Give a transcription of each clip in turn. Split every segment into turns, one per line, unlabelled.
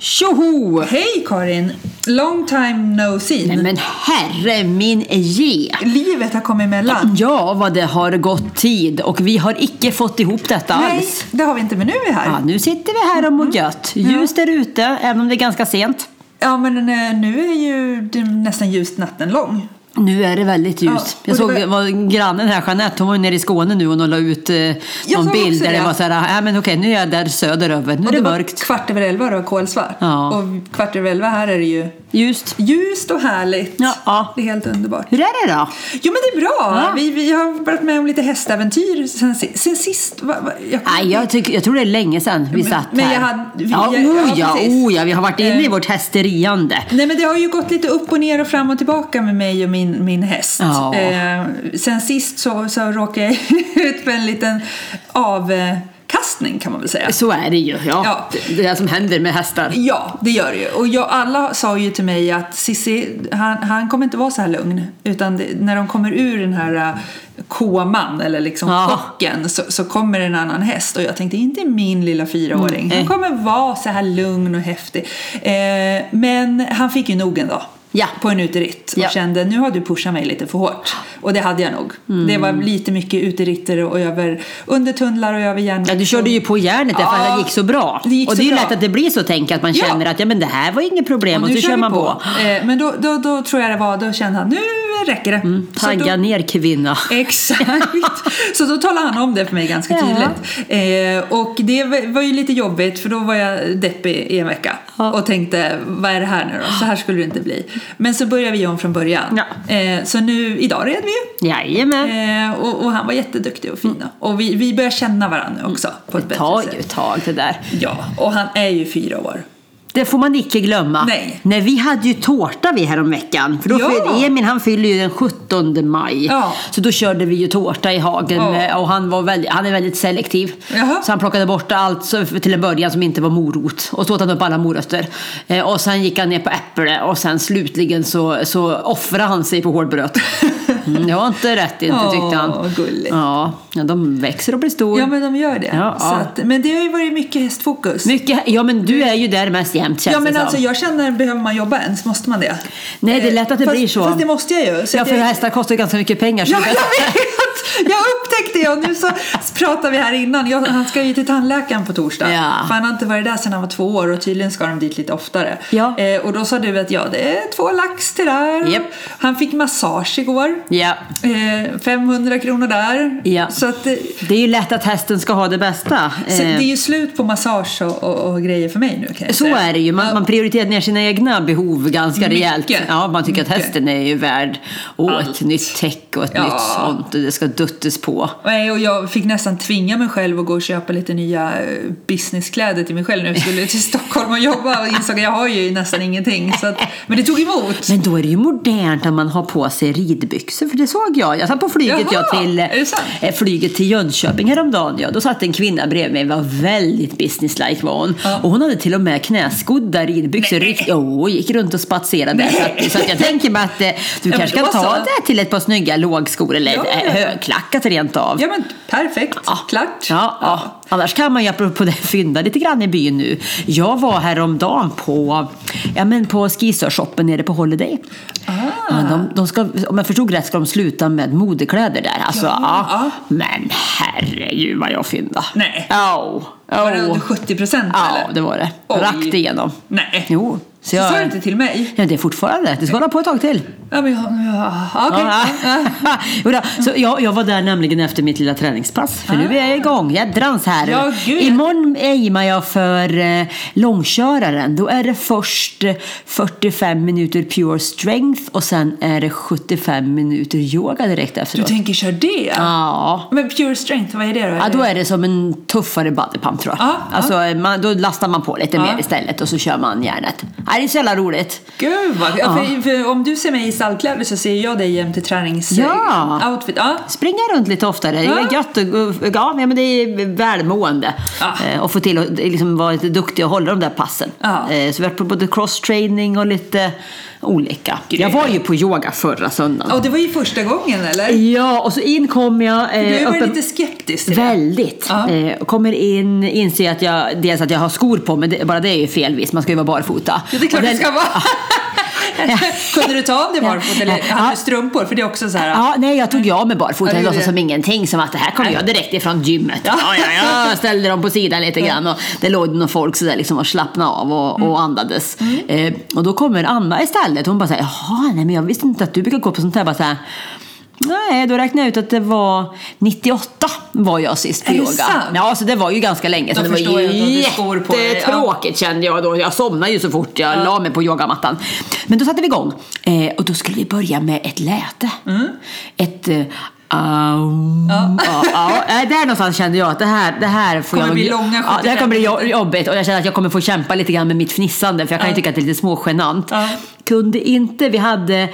Tjoho!
Hej Karin! Long time no see.
Nej men herre min ge!
Livet har kommit emellan.
Ja, vad det har gått tid och vi har icke fått ihop detta
Nej, Mm-hmm.
alls.
det har vi inte, men nu är vi här.
Ja,
Ja,
nu sitter vi här och mår gött. Ljust där ute, även om det är ganska sent.
men eh, nu är ju det nästan ljust natten lång.
Nu är det väldigt
Ja,
ljust.
och
jag
det
såg
var-
var... grannen här, Jeanette, hon var ju nere i Skåne nu och hon la ut eh, någon
såg
bild
också
där det
det.
var så här, "Ah, men okej, nu är jag där söderöver, nu är
Och
det,
var
mörkt.
kvart över elva och det var kolsvart.
Ja.
Och kvart över elva här är det ju
Ljust.
ljust och härligt.
Ja, ja.
Det är helt underbart.
Hur är det då?
Jo men det är bra!
Ja.
Vi, vi har varit med om lite hästäventyr sen, si- sen sist. Va, va, jag,
Nej, jag, tycker, jag tror det är länge sedan vi
Men-
satt
men
här.
jag hade- vi-
ja,
jag-
oh,
ja,
ja,
precis.
oh, ja, vi har varit inne i
Eh.
vårt hästeriande.
Nej men det har ju gått lite upp och ner och fram och tillbaka med mig och min, min häst.
Ja.
Eh, sen sist så, så råkade jag ut för en liten avkastning kan man väl säga.
Så är det ju. Ja.
Ja.
Det, det är som händer med hästar.
Ja, det gör det ju. Och jag, alla sa ju till mig att Sissi, han, han kommer inte vara så här lugn. Utan det, när de kommer ur den här äh, koman eller liksom
Ja.
chocken så, så kommer en annan häst. Och jag tänkte, inte min lilla fyraåring.
Nej.
Han kommer vara så här lugn och häftig. Eh, men han fick ju nog en dag.
Ja.
På en uteritt och
Ja.
kände nu har du pushat mig lite för hårt. Och det hade jag nog. Det
Mm.
var lite mycket uteritter och över under tunnlar och över järn.
Ja, du körde ju på järnet därför
Ja.
att det gick så bra.
Det gick
och
så
det är ju
bra.
lätt att det blir så tänk att man
Ja.
känner att ja, men det här var inget problem och,
nu
så kör
vi
man på.
Eh, men då, då, då tror jag det var, då kände han nu räcker det.
Mm,
Så då-
Tagga ner kvinna.
Exakt! Så då talade han om det för mig ganska
Ja.
tydligt. Eh, och det var- var ju lite jobbigt för då var jag deppig i en vecka
Ja.
och tänkte vad är det här nu då? Så här skulle det inte bli. Men så började vi om från början. Eh, så nu, idag red vi ju.
Jajamän.
Eh, och, och han var jätteduktig och fin. då. Och vi, vi börjar känna varandra nu också på ett
Det
bättre
tar ju
sätt.
Mm. ett tag det där.
Ja, och han är ju fyra år.
Det får man icke glömma.
Nej.
vi hade ju tårta vi häromveckan. För då
Ja.
fyllde Emin, han fyller ju den 17 maj.
Ja.
Så då körde vi ju tårta i hagen.
Ja.
med- Och han, var väldigt, han är väldigt selektiv.
Jaha.
Så han plockade bort allt så- till en början som inte var morot. Och så åt han upp alla morötter. Eh, Och sen gick han ner på äpple. Och sen slutligen så, så offrade han sig på hårdbröd. Mm, det var inte rätt inte tyckte han.
Åh, gulligt.
Ja, ja, de växer och blir stora.
Ja, men de gör det.
Ja,
så
ja.
Att, men det har ju varit mycket hästfokus.
Mycket, ja men du är ju där mest jämt känns
Ja
det
men
som.
alltså jag känner, behöver man jobba ens? Måste man det?
Nej, det är
Eh,
lätt att det
fast,
blir så.
Fast det måste jag ju. Så
Ja,
att
för
jag,
hästar kostar ju ganska mycket pengar. Så
ja,
det-
jag vet! Jag upptäckte det och nu så pratar vi här innan. Jag, han ska ju till tandläkaren på torsdag.
Ja.
För han har inte varit där sedan han var två år och tydligen ska de dit lite oftare.
Ja.
Eh, och då sa du att ja, det är två lax till där.
Japp.
Han fick massage igår.
ja.
Eh, 500 kronor där.
Ja.
Så att eh, det,
Det är ju lätt att hästen ska ha det bästa.
så
Eh,
det är ju slut på massage och, och, och grejer för mig nu kan jag
Så
säga.
är det ju. Man, man prioriterar ner sina egna behov ganska
Mycket.
rejält. Ja, man tycker att
Mycket.
hästen är ju värd och ett nytt täck och ett
Ja.
nytt sånt. och Det ska duttas på.
Nej, och jag fick nästan tvinga mig själv att gå och köpa lite nya eh, businesskläder till mig själv när jag skulle till Stockholm och jobba och insåg att jag har ju nästan ingenting. Så att, men det tog emot.
Men då är det ju modernt att man har på sig ridbyxor, för det såg jag. Jag satt på flyget,
Jaha,
jag till,
är det sant?
eh, flyget till Jönköping häromdagen. Ja. Då satt en kvinna bredvid mig, var väldigt businesslike var hon.
Ja.
Och hon hade till och med knäskodda ridbyxor. Rikt- Jo, gick runt och spatserade. Så, att, så att jag tänker mig att eh, du
men
kanske
då
kan ta
så.
det här till ett par snygga lågskor eller
Ja, ja,
eh,
ja.
högklackat rent av.
Ja, men perfekt. Klart.
Ja, ja. Annars kan man ju apropå det fynda lite grann i byn nu. Jag var häromdagen på, ja, men på skisörshoppen nere på Holiday.
Ah,
Ja, de, de ska, om jag förstod rätt ska de sluta med modekläder där. Alltså, ja.
ja.
Men herregud vad jag fynda.
Nej.
Oh,
Var det under 70 procent
Ja,
eller?
det var det.
Oj.
Rakt igenom.
Nej.
Jo.
Så sa du inte till mig?
Ja, det är fortfarande. Det ska hålla på ett tag till.
Ja, men jag... Ja, ja, okej. Ja.
Ja. Jo då, så jag, jag var där nämligen efter mitt lilla träningspass. För nu är jag igång. Jädrans här.
Ja, gud.
Imorgon aimar jag för eh, långköraren. Då är det först eh, 45 minuter pure strength och sen är det 75 minuter yoga direkt
Du
efteråt.
tänker köra det?
Ja.
Men pure strength, vad är det då?
Ja, då är det som en tuffare body pump tror jag.
Ja, ja.
alltså, Man, då lastar man på lite
Ja.
mer istället och så kör man järnet. Ja, det är så jävla roligt.
Gud vad... Ja.
Ja.
För, för om du ser mig i saltkläder så ser jag dig jämte träningsoutfit.
Ja.
Ja.
springa runt lite oftare. Det är
Ja.
gött och, och- ja, men det är välmående.
Ja.
Eh, och få till att liksom, vara lite duktig och hålla de där passen.
Ja.
Eh, så vi har varit på både cross-training och lite olika. Jag var ju på yoga förra söndagen.
Ja, det var ju första gången eller?
Ja, och så in kom jag. eh,
Du var
uppen-
lite skeptisk till det.
Väldigt.
Ja.
Eh, kommer in, inser att jag, dels att jag har skor på mig, det- bara det är ju fel vis, man ska ju vara barfota.
Ja, det är klart
Och
det ska vara. Kunde du ta av dig barfota eller
Ja.
hade du strumpor? För det är också så här.
Ja, nej, jag tog jag av mig barfota.
Ja,
Jag
det
låtsas
gjorde
som ingenting. Som att det här kom jag direkt ifrån gymmet. Ja, ja, ja. Ställde dem på sidan lite grann och det låg någon folk sådär liksom och slappnade av och,
Mm.
och andades. Eh, och då kommer Anna istället. Hon bara såhär, jaha, nej men jag visste inte att du brukar gå på sånt här. Bara såhär, Nej, då räknade jag ut att det var 98 var jag sist på
Är det
yoga.
sant?
Ja, så det var ju ganska länge
Då
sedan. Det var
förstår jag att du hade skor på dig, ja.
jättetråkigt kände jag då. Jag somnade ju så fort jag la mig på yogamattan. Men då satte vi igång eh, och då skulle vi börja med ett läte.
Mm.
Ett eh, Aum, ja. Ja, Nej, där någonstans kände jag att det här, det här får
Kommer
jag...
bli långa
ja, det här kommer bli
75
jo- jobbigt och jag känner att jag kommer få kämpa lite grann med mitt fnissande för jag kan ju tycka att det är lite smågenant.
Ja.
Kunde inte, vi hade...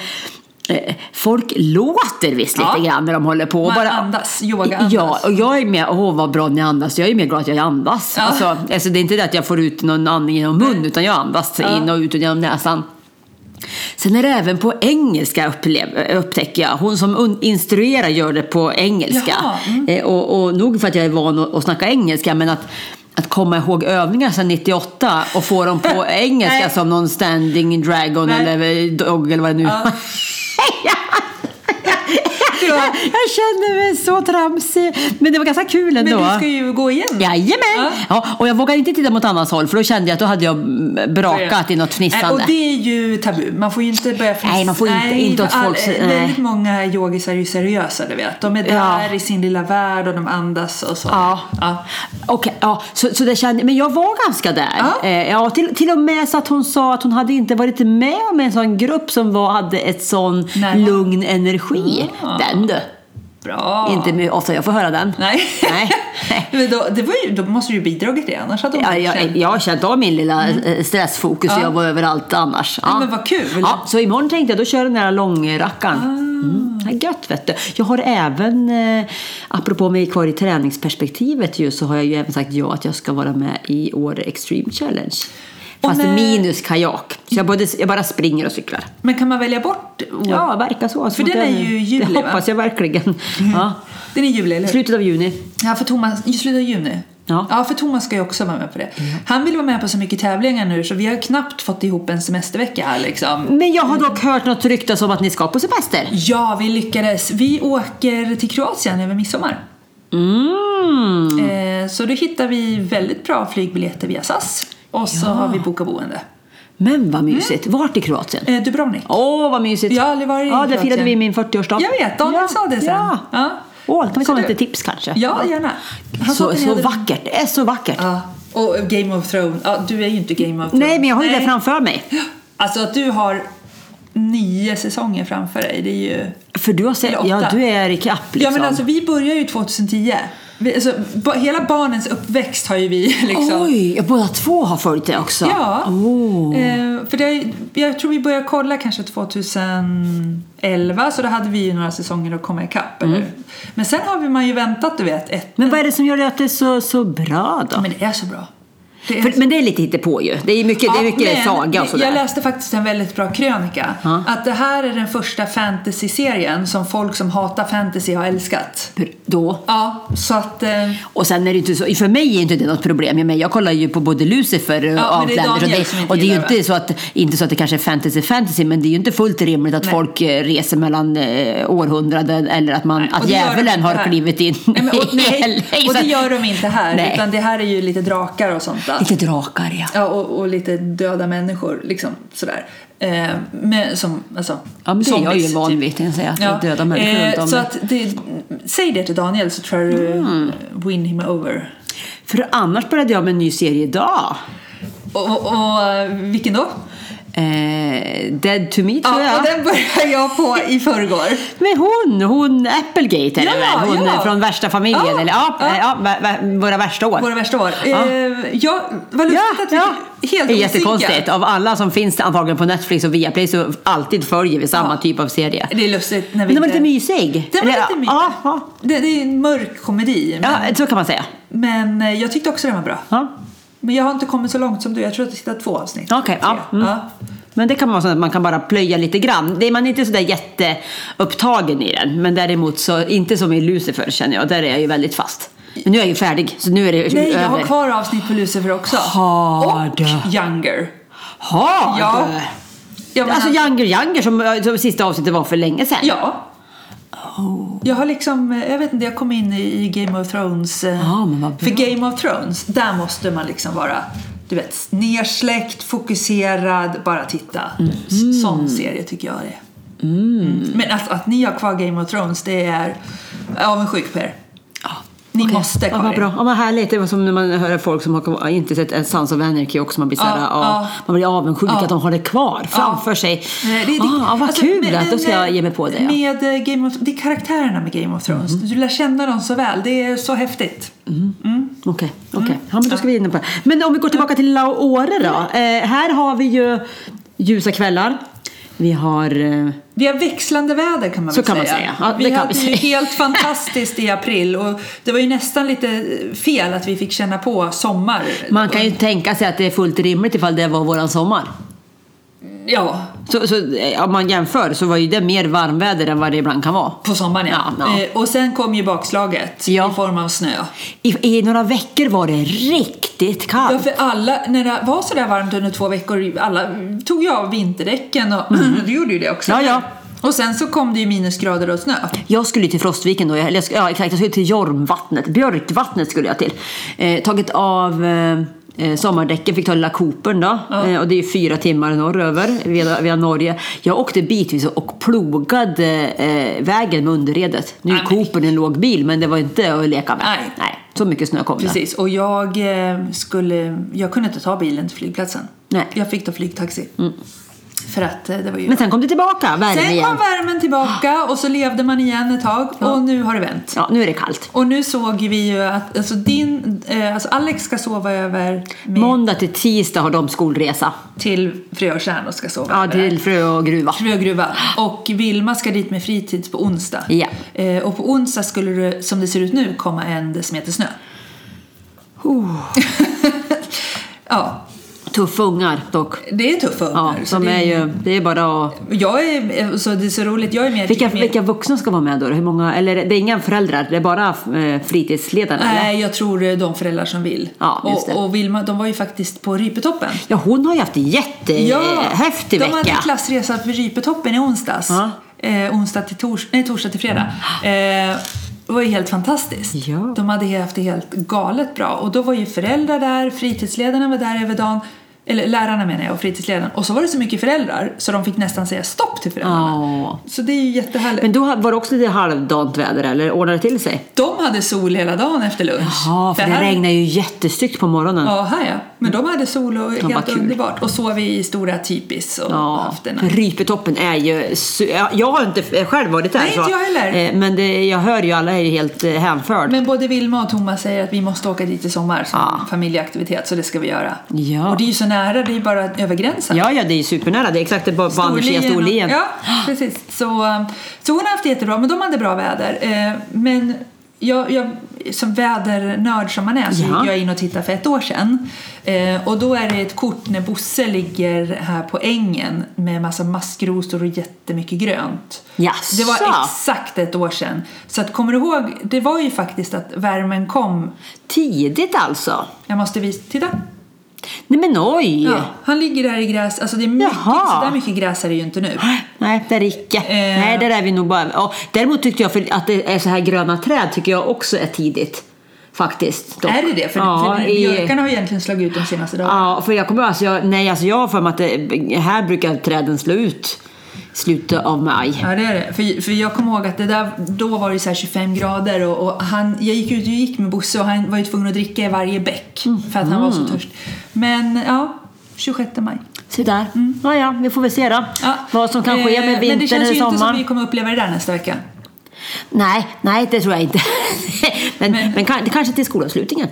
eh, Folk låter visst lite
Ja.
grann när de håller på. och
Man andas, yoga andas.
Ja, och jag är mer, åh vad bra ni andas. Jag är mer glad att jag andas.
Ja.
Alltså, alltså, det är inte det att jag får ut någon andning genom mun utan jag andas
Ja.
in och ut genom näsan. Sen är det även på engelska upplev, upptäcker jag. Hon som un- instruerar gör det på engelska.
Jaha, mm.
Eh, Och, och nog för att jag är van att, att snacka engelska men att, att komma ihåg övningar sedan 98 och få dem på engelska
Nej.
som någon standing dragon
Nej.
eller dog eller vad det nu
Ja.
jag, jag känner mig så tramsig. Men det var ganska kul ändå.
Men du ska ju gå igen.
Jajamän! Ja.
Ja.
och jag vågade inte titta mot annans håll för då kände jag att då hade jag mm, brakat i något
Nej,
fnissande.
Och det är ju tabu. Man får ju inte börja fnissa.
Nej, man får inte- inte åt
all-
folks-
eh,
nej.
Väldigt många yogisar är ju seriösa, du vet. De är där
Ja.
i sin lilla värld och de andas och så.
Ja.
ja.
Okej, ja, så, så det kände, men jag var ganska där.
Ja.
Eh, ja, till, till och med så att hon sa att hon hade inte varit med om en sån grupp som var, hade ett sån
Närvaro.
lugn energi.
Ja.
Den du!
Bra.
Inte mycket ofta jag får höra den.
Nej.
Nej.
Men då, det var ju, då måste du ju bidragit det, annars hade hon
Ja,
inte känt-
jag, jag har känt av min lilla eh, stressfokus och
Mm. Ja.
jag var överallt annars. Ja.
men vad kul. Ah.
Ja, så imorgon tänkte jag då kör den här långrackaren. Mm. det är Gött vet du. Jag har även, eh, apropå mig kvar i träningsperspektivet ju, så har jag ju även sagt ja att jag ska vara med i Åre Extreme Challenge.
Åh,
Fast
nej.
minus kajak. Så jag, både, jag bara springer och cyklar.
Men kan man välja bort?
Ja, verkar så.
För den är ju i juli,
Det
va? Mm.
hoppas jag verkligen. Ja.
Den är i juli, eller hur?
Slutet av juni.
Ja, för Thomas, i slutet av juni.
Ja.
för Thomas ska ju också vara med på det. Han vill vara med på så mycket tävlingar nu så vi har knappt fått ihop en semestervecka här liksom.
Men jag har dock hört något ryktas om att ni ska på semester.
Ja, vi lyckades. Vi åker till Kroatien över midsommar.
Mm.
Eh, så då hittar vi väldigt bra flygbiljetter via SAS. Och så har vi bokat boende.
Men vad mysigt. Vart i Kroatien?
Eh, Dubrovnik.
Åh, vad mysigt.
Jag har aldrig varit i
Ja, där
Kroatien.
firade vi min 40-årsdag.
Jag vet, Daniel
ja.
sa det sen.
Ja.
Ja.
Åh, kan vi
Så
komma
du-
lite tips kanske?
Ja, gärna. Han sa
Så,
att ni
så
hade-
vackert. Det är så vackert.
Ja. Och Game of Thrones. Ja, du är ju inte Game of Thrones.
Nej, men jag har ju det
Nej.
framför mig.
Alltså att du har nio säsonger framför dig, det är ju...
För du har sett,
Eller
ja
åtta.
du är i kapp liksom.
Ja men alltså vi börjar ju 2010. Vi, alltså, ba, hela barnens uppväxt har ju vi liksom...
Oj, Oh. ja, båda två har följt det också.
Ja.
Åh.
Eh, för det, jag tror vi började kolla kanske 2011 så då hade vi ju några säsonger att komma ikapp.
Mm.
eller hur? Men sen har vi- man ju väntat du vet ett...
Men vad är det som gör att det är så, så bra då?
Men det är så bra. Det är
För, men det är lite på ju. Det är mycket, det är mycket
men
saga och sådär.
Jag läste faktiskt en väldigt bra krönika.
Ja.
Att det här är den första fantasy-serien som folk som hatar fantasy har älskat.
Då
Ja, så att... Eh,
Och sen är det inte så, för mig är inte det något problem. Jag, menar, jag kollar ju på både Lucifer och
Ja, men det är
Outlander. Och
Daniel
det,
som inte
och det är ju
gillar det.
inte så, att, inte så att det kanske är fantasy fantasy men det är ju inte fullt rimligt att
Nej.
folk eh, reser mellan eh, århundraden eller att, man,
och
att
det gör de
djävulen
inte
har
här.
klivit in
Nej, men, och, nej,
LA,
och
så
det
att-
gör de inte här.
Nej.
Utan det här är ju lite drakar och sånt. Där.
Lite drakar ja.
Ja, och, och lite döda människor. Liksom sådär. Eh, men som, alltså,
Ja, men det är jag ju
zombies,
van
typ. Eh,
vid, kan jag säga. Att det är döda människor runt om
så
mig.
att det, Säg det till Daniel så tror jag du
Mm.
eh, win him over.
För annars började jag med en ny serie idag.
Och, och, och eh, vilken då?
Eh, Dead to me tror
Ja,
jag.
och den började jag på i förrgår.
Men hon, hon Applegate är det
Ja,
väl? Hon
ja.
eh, från värsta familjen.
Ja,
eller, ja,
ja.
eh, ja, va- va- våra värsta år.
Våra värsta år.
Ja.
Eh, jag, vad lustigt att vi helt
det är
olika.
jättekonstigt. Av alla som finns antagligen på Netflix och Viaplay så alltid följer vi samma typ av serie.
Det är lustigt när vi
Men den var
inte-
lite mysig.
Den var
Eller,
lite mysig.
Ja, ja.
Det, det är en mörk komedi. Men,
ja, så kan man säga.
men eh, jag tyckte också den var bra.
Ja.
Men jag har inte kommit så långt som du. Jag tror att jag tittat två avsnitt.
Okej, ja,
Tre.
mm.
Ja.
Men Men det kan vara så att man kan bara plöja lite grann. Det är man inte sådär jätteupptagen i den. Men däremot så, inte som i Lucifer känner jag, där är jag ju väldigt fast. Men nu är jag ju färdig, så nu är det
Nej,
över.
jag har kvar avsnitt på Lucifer också.
Har
Och
du?
Younger.
Har
Ja.
du?
Jag menar-
Alltså Younger Younger som, som sista avsnittet var för länge sedan.
Ja. Jag har liksom, eh, jag vet inte, jag kom in i, i Game of Thrones. eh,
Ja, men vad bra.
För Game of Thrones, där måste man liksom vara, du vet, nersläckt, fokuserad, bara titta.
Mhm.
S- Sån serie tycker jag det är.
Mm.
Mm. Men att, att ni har kvar Game of Thrones, det är avundsjuk på er. Ni måste
Ja,
kvar
vad bra. Ja, vad härligt. Det var som när man hör folk som har inte sett en Sons of Anarchy också. Man blir, så här,
Ja,
ja,
ja.
man blir avundsjuk att de har det kvar framför sig.
Nej, Eh, det- det-
ah, vad
alltså,
kul
men-
att då ska
men,
jag ge mig på det. Ja. Mhm.
Med eh, Game of, det är karaktärerna med Game of Thrones. Du lär känna dem så väl. Det är så häftigt.
Okej, okej.
Mm.
Ja, men då ska vi in på det. Men om vi går tillbaka till Laore då.
Mm.
Eh, här har vi ju ljusa kvällar. Vi har... Eh,
Vi har växlande väder kan man
Så
väl
kan man
säga.
säga. Ja, det
vi
kan
hade
vi
ju
säga.
helt fantastiskt i april och det var ju nästan lite fel att vi fick känna på sommar.
man kan
Mm.
ju tänka sig att det är fullt rimligt ifall det var våran sommar.
Ja,
Så, så, eh, om man jämför så var ju det mer varmväder än vad det ibland kan vara.
på sommaren ja.
Ja, ja.
Eh, Och sen kom ju bakslaget
Ja.
i form av snö.
I, I några veckor var det riktigt
Ja,
kallt.
för alla, när det var sådär varmt under två veckor, alla tog ju av vinterdäcken och du gjorde ju det också.
Mm. Ja, ja.
Och sen så kom det ju minusgrader och snö.
Jag skulle till Frostviken då, eller jag, sk- ja, exakt, jag skulle till Jormvattnet, Björkvattnet skulle jag till. Eh, tagit av eh, eh, sommardäcken, fick ta lilla Coopern då. Eh, och det är ju fyra timmar norröver via, via Norge. Jag åkte bitvis och plogade eh, vägen med underredet. Nu
Nej,
är
men-
Coopern en låg bil men det var inte att leka med.
Nej.
så mycket snö kom det.
Precis, och jag eh, skulle, jag kunde inte ta bilen till flygplatsen.
Nej. Mm.
Jag fick ta flygtaxi. För att eh, det var ju
Men sen kom det tillbaka, värme
Sen
igen.
kom värmen tillbaka och så levde man igen ett tag och nu har det vänt.
Ja, nu är det kallt.
Och nu såg vi ju att alltså din, eh, alltså Alex ska sova över med,
Måndag till tisdag har de skolresa.
till Frötjärn och ska sova
Ja,
över där.
till Frö och gruva.
Frögruva. Och Vilma ska dit med fritids på onsdag.
Ja.
Eh, och på onsdag skulle det, som det ser ut nu, komma en decimeter snö. ja,
Tuffa ungar dock.
det är tuffa
Ja,
ungar. så
de
det,
är ju, det är bara att
Jag är, så det är så roligt, jag är mer... typ
Vilka,
mer-
vilka vuxna ska vara med då? Hur många, eller det är inga föräldrar, det är bara eh, fritidsledarna? eller?
Nej, jag tror eh, de föräldrar som vill.
Ja, just det.
och, och Vilma, de var ju faktiskt på Rypetoppen.
Ja, hon har ju haft en jättehäftig
de hade
Eh, vecka.
klassresa på Rypetoppen i onsdags.
Ja. Ah.
Eh, onsdag till tors nej, torsdag till fredag. Eh, det var ju helt fantastiskt.
Ja.
De hade haft det helt galet bra. Och då var ju föräldrar där, fritidsledarna var där över dagen. Eller lärarna menar jag och fritidsledarna. Och så var det så mycket föräldrar så de fick nästan säga stopp till föräldrarna.
Ja.
Så det är ju jättehärligt.
Men då var det också lite halvdant väder eller ordnade det till sig?
de hade sol hela dagen efter lunch.
Ja, för det
här-
regnar ju jättestyggt på morgonen.
Ja, här ja. Men de hade sol och
vad
helt
Mm. kul.
underbart. Och sov i stora tipis och
Ja,
haft en
Rypetoppen är ju... su- ja, Jag har inte f- själv varit där.
Nej, inte
så-
jag heller.
eh, Men det, jag hör ju, alla är ju helt eh, hänförd.
Men både Vilma och Thomas säger att vi måste åka dit i sommar som
Ja.
familjeaktivitet, så det ska vi göra.
Ja.
Och det är ju så nära, det är ju bara över gränsen.
Ja, ja, det är ju supernära. Det är exakt det är bara på andra sidan
Storlien och-
Storlien.
Ja, precis. Så, um, så hon har haft det jättebra, men de hade bra väder. Eh, Men jag, jag, som vädernörd som man är så
Ja.
gick jag in och tittade för ett år sedan. Eh, Och då är det ett kort när Bosse ligger här på ängen med massa maskrosor och jättemycket grönt.
Jaså?
Det var exakt ett år sedan. Så att, kommer du ihåg, det var ju faktiskt att värmen kom.
Tidigt alltså.
Jag måste visa, titta.
Nej men oj!
Ja, han ligger där i gräs, alltså det är mycket,
Jaha.
sådär mycket gräs är det ju inte nu.
Nej, där är icke.
Eh.
Nej, där är vi nog bara... Ja, däremot tyckte jag för att det är så här gröna träd tycker jag också är tidigt. Faktiskt. dock.
Är det det? För,
ja,
för
i-
björkarna har ju egentligen slagit ut de senaste dagarna.
Ja, för jag kommer alltså jag, Nej, alltså jag har för mig att det, här brukar träden slå ut slutet av maj.
Ja det är det. För, för jag kommer ihåg att det där, då var det så här 25 grader och, och han, jag gick ut och gick med Bosse och han var ju tvungen att dricka i varje bäck
Mm.
för att han var så törst. Men ja, 26 maj.
Så där. Ja, ja, vi får väl se då.
Mm. Ja.
Vad som kan ske
Eh,
med
Men det
vintern
känns ju
eller
inte som vi
sommaren.
kommer uppleva det där nästa vecka.
Nej, nej, det tror jag inte. men
Men-
men, kan, det kanske till skolavslutningen.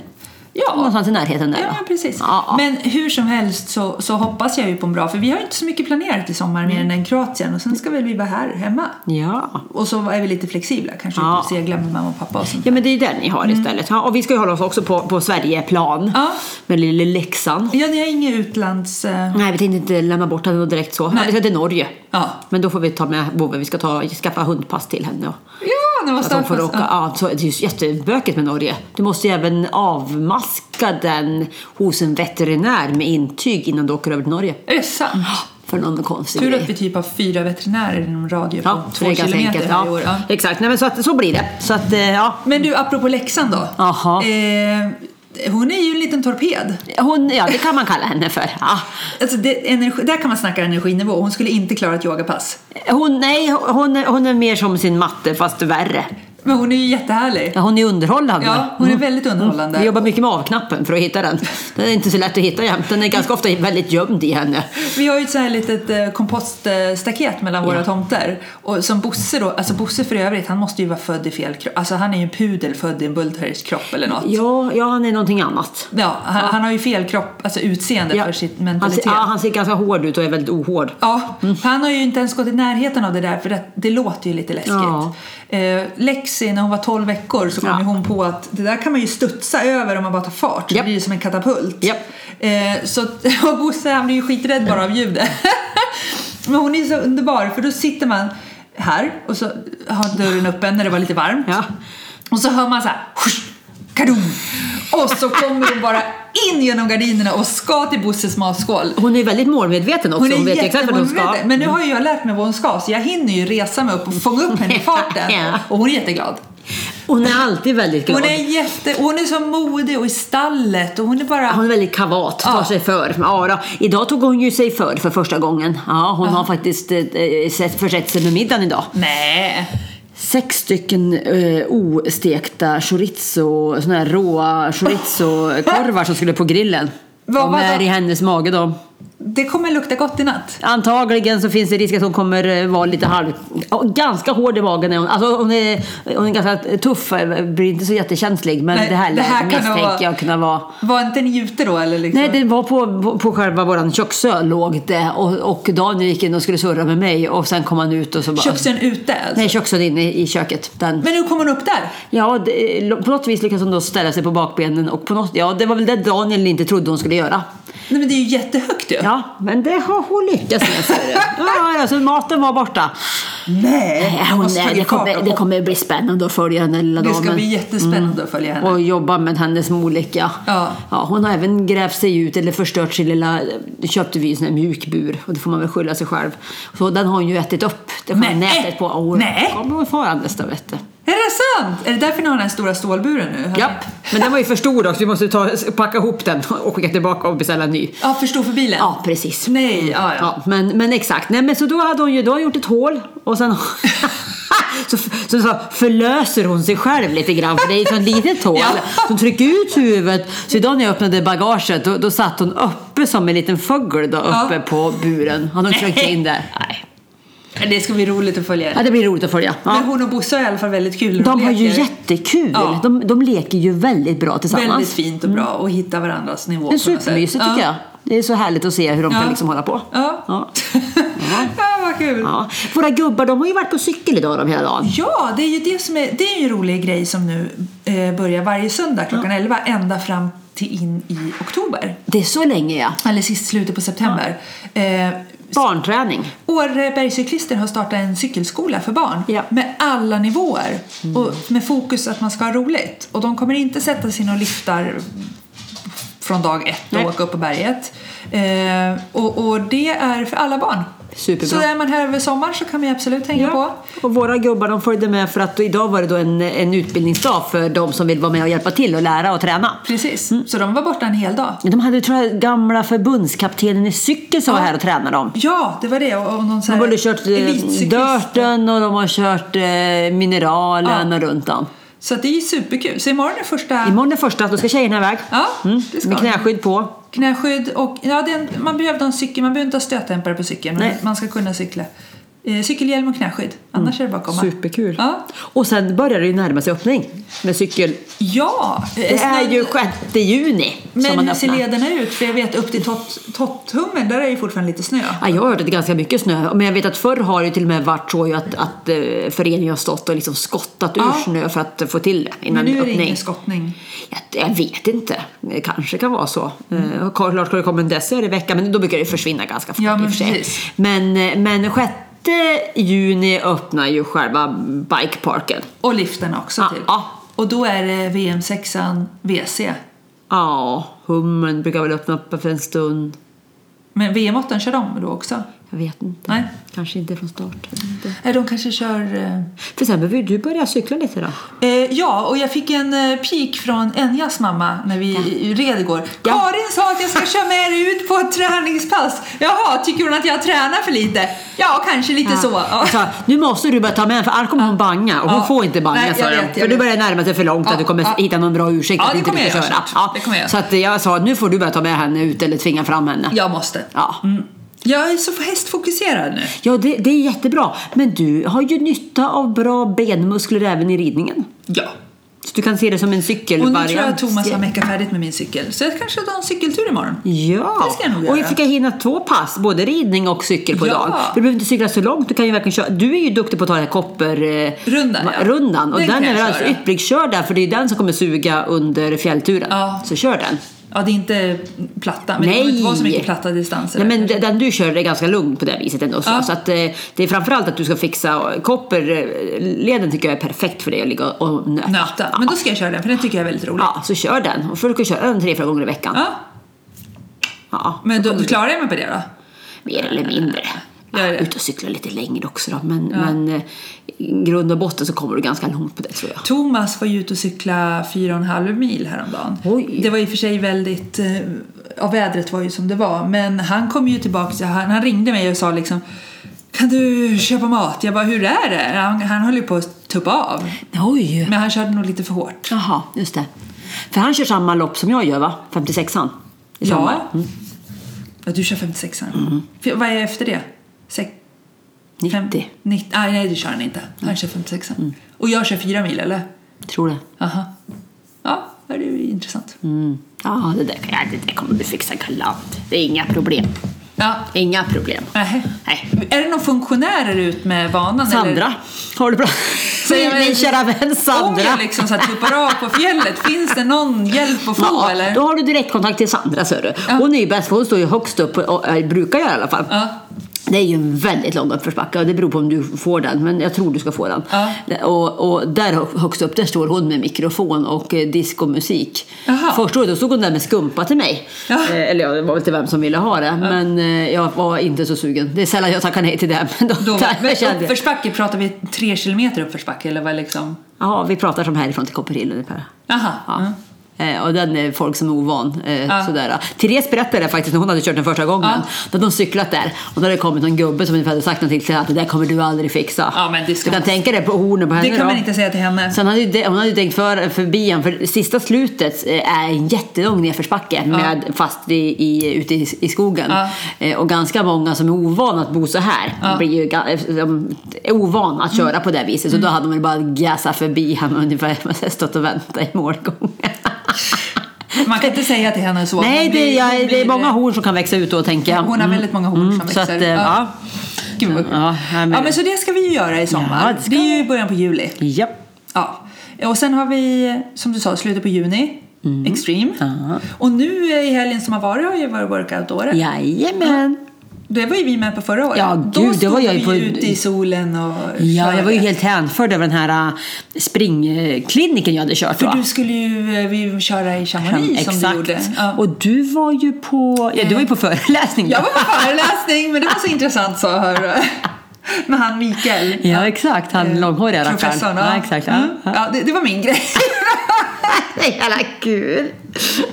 Ja.
Någonstans i närheten där
Ja,
va?
men precis.
Ja, ja.
Men hur som helst så, så hoppas jag ju på en bra, för vi har ju inte så mycket planerat i sommar
Mm.
mer än Kroatien och sen ska väl vi vara här hemma.
ja.
Och så är vi lite flexibla, kanske
Ja.
ut och segla med mamma och pappa och sånt.
Ja men det är ju den ni har istället. Ja, och vi ska ju hålla oss också på, på Sverigeplan.
Mm. Ja.
Med lille Leksand.
Ja, ni har inget utlands... eh,
Nej vi tänkte inte lämna bort henne direkt så. Ja,
Nej.
vi ska till Norge.
Ja.
Men då får vi ta med Bove, vi ska ta, skaffa hundpass till henne. Och,
Ja, det var
att de får åka.
starkast.
Ja, så det är ju jättebökigt med Norge. Du måste ju även avmaska den hos en veterinär med intyg innan du åker över till Norge.
Är det sant?
För någon konstig
Tur
grej.
att vi typ har fyra veterinärer inom radio på
Ja,
två
det är ganska
kilometer
enkelt.
varje år.
Ja,
Ja.
Exakt, Nej, men så, att, så blir det. Så att, eh, ja.
Men du, apropå Leksand då.
Aha.
Eh, hon är ju en liten torped.
Hon, ja, det kan man kalla henne för. Ja.
Alltså det, energi, där kan man snacka energinivå. Hon skulle inte klara ett yogapass.
Hon, nej, hon, är- hon är mer som sin matte, fast värre.
Men hon är ju jättehärlig.
Ja, hon är underhållande.
Ja, hon är väldigt underhållande.
Vi jobbar mycket med avknappen för att hitta den. Den är inte så lätt att hitta jämt. Den är ganska ofta väldigt gömd i henne.
Vi har ju ett så här litet eh, kompoststaket mellan våra tomter. Och som Bosse då, alltså Bosse för övrigt, han måste ju vara född i fel kropp. Alltså han är ju en pudel född i en bullterriers kropp eller något.
Ja, ja han är någonting annat.
Ja, han, han har ju fel kropp, alltså utseende
Ja.
för sitt
han, ser,
mentalitet.
ja, han ser ganska hård ut och är väldigt ohård.
Ja,
Mm.
han har ju inte ens gått i närheten av det där för det, det låter ju lite läskigt.
Ja.
Eh, Lexi, när hon var 12 veckor så kom
Ja.
ju hon på att det där kan man ju studsa över om man bara tar fart. Det
Japp.
blir ju som en katapult.
Japp.
Eh, så att- och Bosse han blir ju skiträdd bara av ljudet. Men hon är ju så underbar för då sitter man här och så har dörren öppen när det var lite varmt.
Ja.
Och så hör man så här "Hush, kadum. Och så kommer hon bara in genom gardinerna och ska till Bosses matskål.
Hon är väldigt målmedveten också. Hon,
Hon är
vet exakt vad hon ska. Mm.
jättemålmedveten. Men nu har ju jag lärt mig vad hon ska så jag hinner ju resa mig upp och fånga upp henne i farten.
Ja.
Och hon är jätteglad.
Hon är alltid väldigt glad.
Hon är, jätte, och hon är så modig och i stallet och hon är bara...
Hon är väldigt kavat, tar
Ja.
sig för. Ja, då. Idag tog hon ju sig för för första gången. Ja, hon har faktiskt eh, eh, sett- försett sig med middagen idag.
Nej.
Sex stycken eh, ostekta chorizo, såna här råa chorizo-korvar som skulle på grillen.
Vad
De
var
är
det?
i hennes mage då.
Det kommer lukta gott i natt.
Antagligen så finns det risk att hon kommer eh, vara lite halv... ja, Ganska hård i magen är hon. Alltså hon är, hon är ganska tuff, eh, blir inte så jättekänslig. Men
Nej,
det här,
det här kan
misstänker
vara-
jag kunna vara...
Var inte ni ute då eller? Liksom?
Nej, det var på, på, på själva våran köksö låg det och, och Daniel gick in och skulle surra med mig och sen kom han ut och så bara...
Köksön ute alltså.
Nej, köksön inne i, i köket. Den.
Men hur kommer hon upp där?
Ja, det, på något vis lyckades hon då ställa sig på bakbenen och på något... Ja, det var väl det Daniel inte trodde hon skulle göra.
Nej men det är ju jättehögt ju.
Ja, men det har hon lyckats med. ser du. Ja, alltså maten var borta.
Nej. Alltså,
Nej,
jag
Hon,
måste
nej, det,
tagit fart
kommer,
och
det kommer bli spännande att följa den här lilla
Det ska
damen.
bli jättespännande att följa henne.
Mm. och jobba med hennes olika...
Ja.
hon har även grävt sig ut eller förstört sin lilla... Det köpte vi en sån här mjuk bur och det får man väl skylla sig själv. Så den har hon ju ätit upp. Det har
Nej.
nätet på. Och hon
Nej.
kommer farandes då vet du.
Är det sant? Är det därför ni har den här stora stålburen nu?
Japp. Men den var ju för stor också. Vi måste ta, packa ihop den och skicka tillbaka och beställa en ny.
Ja, för stor för bilen?
Ja, precis.
Nej, ja, ja.
Ja, men, men exakt. Nej, men så då hade hon ju då har hon gjort ett hål och sen så, så, så förlöser hon sig själv lite grann för det är ett sånt litet hål.
Ja.
Så hon trycker ut huvudet. Så idag när jag öppnade bagaget då, då satt hon uppe som en liten fågel då, uppe på buren. Hon har tryckt sig in där. Nej.
Det ska bli roligt att följa
Ja, det blir roligt att följa. Alltså, Ja.
Men hon och Bosse har i alla fall väldigt kul.
De har ju
leker
jättekul.
Ja.
De, de leker ju väldigt bra tillsammans.
Väldigt fint och bra och hitta varandras nivå.
Mm. det är
på något sätt.
supermysigt tycker jag. Det är så härligt att se hur de
Ja.
kan liksom hålla på.
Ja. Ja.
Ja.
ja, vad kul. Ja.
Ja. Våra gubbar de har ju varit på cykel idag de hela dagen.
det är ju det som är, det är ju en rolig grej som nu eh, börjar varje söndag klockan 11 ända fram till in i oktober.
Det är så länge ja.
Eller sist slutet på september. Eh,
Barnträning.
Årebergscyklister har startat en cykelskola för barn
Ja. Mm.
med alla nivåer och med fokus att man ska ha roligt. Och de kommer inte sätta sig i några liftar från dag ett och
Nej.
åka upp på berget. Eh, och, och det är för alla barn.
Superbra.
Så är man här över sommaren så kan man ju absolut hänga på.
Och våra gubbar de följde med för att idag var det då en, en utbildningsdag för de som vill vara med och hjälpa till och lära och träna.
Precis,
Mm.
så de var borta en hel dag.
De hade tror jag gamla förbundskaptenen i cykel som var här och tränade dem.
Ja, det var det. Och, och någon så
De
här
har både kört eh,
elitcyklist.
dörten och de har kört eh, mineralen och runt om.
Så att det är ju superkul. Så imorgon är första...
Imorgon är första, då ska tjejerna iväg. Mm.
Ja, det ska
Med
de.
knäskydd på.
Knäskydd och ja, det är en, man behövde ha en cykel, man behöver inte ha stötdämpare på cykeln. Men
Nej.
man ska kunna cykla. Eh, cykelhjälm och knäskydd. Annars är det bara att komma.
Superkul.
Ja,
Och sen börjar det ju närma sig öppning med cykel.
ja eh,
Det är
snö-
ju 6 juni som
Men
man
hur ser
öppnar.
lederna ut? För jag vet upp till Tott- Tottummen, där är ju fortfarande lite snö.
Ja, jag har hört att det är ganska mycket snö, men jag vet att förr har det till och med varit så ju att, att eh, föreningen har stått och liksom skottat ur
Ja.
snö för att få till det
Men
innan
nu är det
öppning.
ingen skottning.
Jag, jag vet inte, det kanske kan vara så. Mm. Eh, klart ska det komma en deciliter i veckan, men då brukar det försvinna ganska fort
Ja, men
i och för sig.
precis.
Men, eh, men 6 juni öppnar ju själva bikeparken.
Och liften också
Ja,
till.
ja.
Och då är det VM6an WC.
Ja, hummen brukar väl öppna upp för en stund.
Men VM8 kör de då också?
Jag vet inte.
Nej.
Kanske inte från start.
Nej, de kanske kör... eh,
För sen behöver ju du börja cykla lite då.
Eh, ja, och jag fick en eh, pik från Enjas mamma när vi red igår.
Ja.
Karin sa att jag ska köra med er ut på ett träningspass. Jaha, tycker hon att jag tränar för lite? Ja, kanske lite så. Ja.
Jag sa, nu måste du börja ta med henne för annars kommer hon banga och hon
Ja.
får inte banga
Nej, jag
sa de.
vet, jag
För du
vet.
börjar närma dig för långt
Ja,
att du kommer
ja.
hitta någon bra ursäkt
Ja,
att
det
du inte
kommer
brukar
jag göra,
köra.
såklart. Det kommer jag göra.
Så att jag sa nu får du börja ta med henne ut eller tvinga fram henne.
Jag måste.
Ja.
Mm. Jag är så hästfokuserad nu.
Ja, det, det är jättebra. Men du har ju nytta av bra benmuskler även i ridningen.
Ja.
Så du kan se det som en
Och
cykelvariant.
nu tror jag att Thomas har meckat färdigt med min cykel. Så jag kanske tar en cykeltur imorgon.
Ja,
Det ska jag nog
och
göra.
jag fick hinna två pass, både ridning och cykel på
Ja.
dagen. Du behöver inte cykla så långt, du kan ju verkligen köra. Du är ju duktig på att ta den här
Rundan,
kopperrundan.
ja.
Rundan, och
Den
den,
kan
är
jag
väl alldeles
köra.
ypperlig. Kör den, för det är ju den som kommer suga under fjällturen.
Ja.
Så kör den.
Ja, det är inte platta, men det kommer inte vara så mycket platta distanser.
Nej, men d- den du kör är ganska lugn på det viset ändå. Så,
Ja.
så att, eh, det är framförallt att du ska fixa kopperleden tycker jag är perfekt för dig att ligga och nöta.
Nöta. Men då ska jag köra den, för den tycker jag är väldigt rolig.
Ja, så kör den. Och försök att köra den tre, fyra gånger i veckan.
Ja.
Ja.
Men då, då klarar jag mig på det då?
mer eller mindre.
Ja, ja.
Ut och cykla lite längre också då, men, men eh, i grund och botten så kommer du ganska långt på det tror jag.
Thomas var ju ute och cykla fyra och en halv mil häromdagen.
Oj.
Det var i och för sig väldigt... eh, Ja, vädret var ju som det var. Men han kom ju tillbaka. så Han, han ringde mig och sa liksom Kan du köpa mat? Jag bara, hur är det? Han, han höll ju på att tuppa av.
Oj!
Men han körde nog lite för hårt.
Jaha, just det. För han kör samma lopp som jag gör va? 56an? I sommar. Mm.
Ja. ja du kör 56 För, Vad är efter det? Sex,
90,
90. Ah, nej, du kör han inte.
Mm.
Han kör 56 Och jag kör fyra mil, eller?
tror det.
Aha. Ja, det är ju intressant.
Mm. Ja, det där, kan jag- det där kommer du fixa galant. Det är inga problem.
Ja,
Inga problem.
Nähä.
Nej.
Är det någon funktionärer ut med vanan?
Sandra, har du bra?
Säger
Min
väl-
kära vän
Om jag
Sandra.
liksom så här tuppar av på fjället, finns det någon hjälp att få
Ja,
eller?
Då har du direktkontakt till Sandra, ser du. Hon är ju bäst, för hon står ju högst upp, och, och, eh, brukar göra i alla fall.
Ja.
Det är ju en väldigt lång uppförsbacke och det beror på om du får den, men jag tror du ska få den.
Ja.
Och, och där hö- högst upp, där står hon med mikrofon och eh, diskomusik.
Jaha.
Första året då stod hon där med skumpa till mig.
Ja.
Eh, eller ja, det var väl till vem som ville ha det, men eh, jag var inte så sugen. Det är sällan jag tackar nej till det. Men då,
Då,
där
men
kände jag-
uppförsbacke, pratar vi tre kilometer uppförsbacke eller vad liksom?
Ja, vi pratar som härifrån till Copperhill ungefär.
Aha.
Ja.
Mm.
Eh, Och den är folk som är ovan. Eh,
Ja.
sådär. Therese berättade det faktiskt när hon hade kört den första gången.
Ja.
Då hade hon cyklat där och då hade det kommit någon gubbe som ungefär hade sagt någonting till henne att det där kommer du aldrig fixa.
Ja, men det ska
du kan
man-
tänka dig på hornen på henne
Det kan
då.
man inte säga till henne.
Sen hade ju de, hon hade ju tänkt för, förbi en, för sista slutet eh, är en jättelång nedförsbacke med, fast i, i, ute i, i skogen.
Ja.
Eh, Och ganska många som är ovana att bo så här blir ju, ga- eh, de är ovana att köra på det viset. Så
Mm.
då hade man ju bara gasat förbi henne ungefär, man hade stått och väntat i målgången.
Man kan inte säga till henne så.
Nej,
Hon
det,
blir-
jag,
hon
det är
blir-
många horn som kan växa ut då tänker jag. Mm.
Hon har väldigt många horn som
Så
växer.
att, eh, ja.
Gud, vad kul.
Ja,
ja,
men-
men så det ska vi ju göra i sommar.
Ja,
det,
det ska
är ju i början på juli.
Japp.
Ja. Och sen har vi, som du sa, slutet på juni. Extreme.
Mm. Ja.
Och nu eh, i helgen som har varit har ju varit workoutåret.
Jajamän.
Det var ju vi med på förra året.
Ja,
Då
gud, det
stod
var jag
vi
ju på-
ute i solen och
Ja, jag var ju
körde.
helt hänförd över den här äh, springkliniken jag hade kört. va?
För du skulle ju eh, vi köra i Chamonix som du gjorde. Ja.
Och du var ju på, ja, du var ju på föreläsning. då.
Jag var på föreläsning, men det var så intressant så hör Med han Mikael. Eh,
Ja, exakt. Han långhåriga rackaren.
Professorn.
Ja, exakt. Ja.
Mm.
Ja.
Ja, det, det var min grej.
Jävla kul!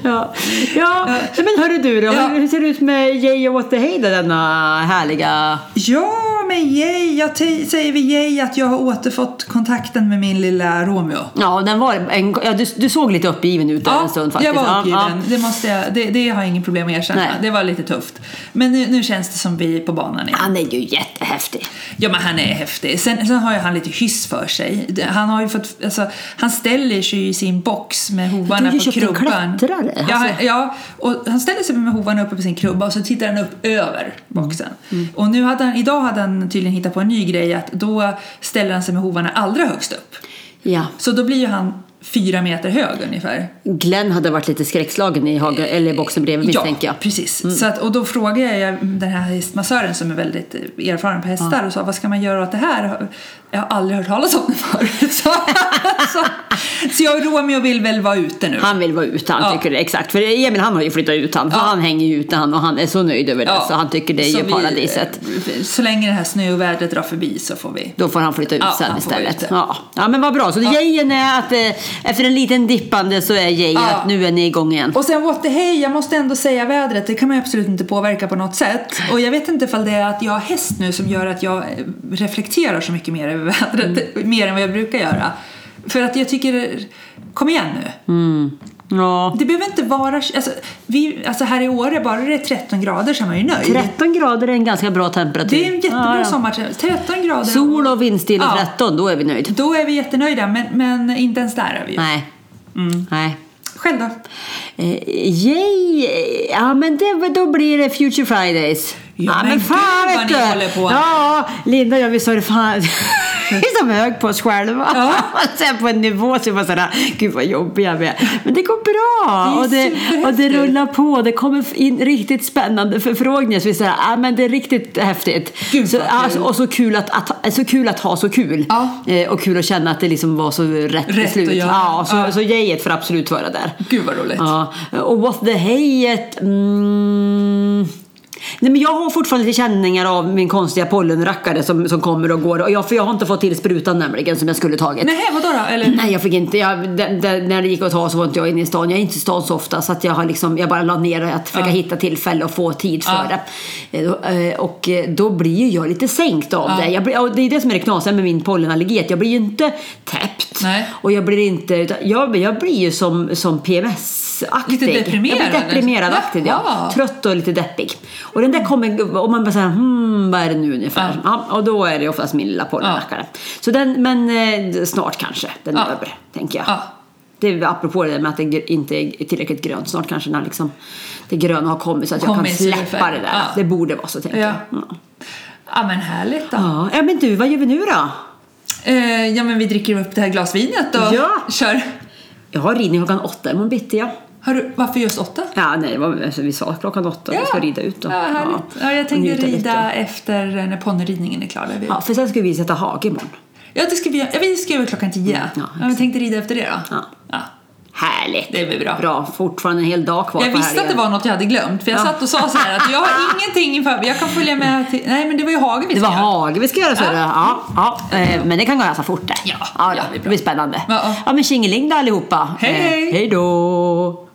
Ja, ja. men hörru du då,
Ja.
hur, hur ser det ut med Jay och Återhejda denna härliga...
Ja, men men yay! Jag te- säger vi yay att jag har återfått kontakten med min lilla Romeo.
Ja, den var en, ja, du, du såg lite uppgiven ut där en stund faktiskt.
jag var uppgiven.
Ja,
Det, måste jag, det, det har jag ingen problem med att erkänna.
Nej.
Det var lite tufft. Men nu, nu känns det som vi är på banan igen.
ja. Han är ju jättehäftig.
Ja men han är häftig. Sen, sen har ju han lite hyss för sig. Det- Han har ju fått, alltså, han ställer sig i sin box med
Du
hovarna
har ju
på
köpt en
krubban.
klättrare,
Ja,
alltså.
ja, och han ställer sig med hovarna uppe på sin krubba och så tittar han upp över boxen.
Mm.
Och nu hade han, idag hade han tydligen hittat på en ny grej att då ställer han sig med hovarna allra högst upp.
Ja.
Så då blir ju han fyra meter hög ungefär.
Glenn hade varit lite skräckslagen i Haga, eller i boxen bredvid misstänker jag. Mm.
precis. Så att, och då frågade jag den här hästmassören som är väldigt eh, erfaren på hästar och sa vad ska man göra åt det här? Jag har aldrig hört talas om det förut. Så, så, så jag och Romeo vill väl vara ute nu.
Han vill vara ute, han
Ja.
tycker det. Exakt, för Emil han har ju flyttat ut han. Han hänger ju ute han och han är så nöjd över det
Ja.
så han tycker det är
Så
ju
vi- eh,
paradiset.
Så länge det här snöovädret drar förbi så får vi.
Då får han flytta ut
Ja,
sen
han får vara
istället.
ute.
Ja. ja, men vad bra. Så jejen är att eh, efter en liten dippande så är jejen
Ja.
att nu är ni igång igen.
Och sen what the hey, jag måste ändå säga vädret, det kan man ju absolut inte påverka på något sätt. Och jag vet inte ifall det är att jag har häst nu som gör att jag eh, reflekterar så mycket mer över vädret,
Mm.
mer än vad jag brukar göra. För att jag tycker, kom igen nu.
Mm. Ja.
Det behöver inte vara, alltså, vi, alltså här i Åre, bara det är 13 grader så är man ju nöjd.
13 grader är en ganska bra temperatur.
Det är en jättebra
Ja, ja.
sommar, 13 grader.
Sol och vindstilla
Ja.
13, då är vi nöjda.
Då är vi jättenöjda, men, men inte ens där är vi ju.
Nej.
Mm.
Nej.
Själv då?
Eh, yay! Ja, men det, då blir det Future Fridays.
Ja, men gud vad ni håller på.
Ja, Linda och jag, vi sa det fan... Vi är som hög på oss själva.
Ja.
Och sen på en nivå så var sådär, gud vad jobbiga vi är. Men det går bra.
Det är
och, det, och det
superhäftigt.
rullar på. Det kommer in riktigt spännande förfrågningar. Så vi säger, ja men det är riktigt häftigt.
Gud,
så,
vad
ja,
kul.
och så kul att, att, så kul att ha så kul.
Ja.
Eh, och kul att känna att det liksom var så rätt,
Rätt att
beslut.
göra.
Ja, så,
Ja.
så jejet får absolut vara där.
Gud vad roligt.
Ja, och What the Hayet... Mm, nej men jag har fortfarande lite känningar av min konstiga pollenrackare som, som kommer och går. Och jag, för jag har inte fått till sprutan nämligen som jag skulle tagit.
Nej, vadå då? Eller?
Nej, jag fick inte. Jag, den- den- när det gick att ta så var inte jag inne i stan. Jag är inte i stan så ofta så att jag, har liksom, jag bara la ner att försöka hitta tillfälle och få tid för
Ja.
det. Eh, då- eh, Och eh, då blir ju jag lite sänkt av det. Jag blir, och det är det som är det knasiga med min pollenallergi. Att jag blir ju inte täppt.
Nej.
Och jag blir inte... utan Jag, jag blir ju som, som PMS-aktig.
Lite deprimerad,
Jag blir deprimerad-aktig,
eller?
ja.
Jaha.
Trött och lite deppig. Och den där
Mm.
kommer... Och man bara såhär, hmm, vad är det nu ungefär? Ja. och då är det oftast min lilla pollenrackare. Så den, men eh, snart kanske den är
Ja.
över, tänker jag.
Ja.
Det är apropå det där med att det gr- inte är tillräckligt grönt. Snart kanske när liksom det gröna har kommit så att jag
Kommer
kan
i silver.
släppa det där.
Ja.
Det borde vara så, tänker
Ja.
jag. Ja.
Ja, men härligt då.
Ja. ja, men du, vad gör vi nu då?
Eh, ja, men vi dricker upp det här glasvinet och
Ja.
kör.
Jag har ridning klockan åtta imorgon bitti, ja.
Har du, varför just åtta?
Ja, nej, det var, alltså, vi sa klockan åtta vi ska rida ut. Då.
Ja, härligt. Ja, jag
och
tänker
njuta
rida
lite.
efter när ponnyridningen är klar. Där vi. Ja.
Ja, för sen ska vi sätta hage imorgon.
det ska vi, ja, vi ska över klockan tio.
Mm, ja,
ja, men jag tänkte rida efter det då.
Ja.
Ja.
Härligt!
Det blir bra.
Bra, fortfarande en hel dag kvar
Jag
på
visste att det
helgen.
var något jag hade glömt för jag satt och sa så här att jag har ingenting inför mig. Jag kan följa med till... Nej men det var ju Hage vi
Det
ska
var
göra.
hage vi ska göra, så ja. Ja, ja. eh, Men det kan gå ganska fort det.
Ja, ja,
ja, då.
det
det,
blir bra.
blir spännande.
Ja, ja.
Ja, men tjingeling då allihopa.
Hej,
Eh,
hej.
Hej då!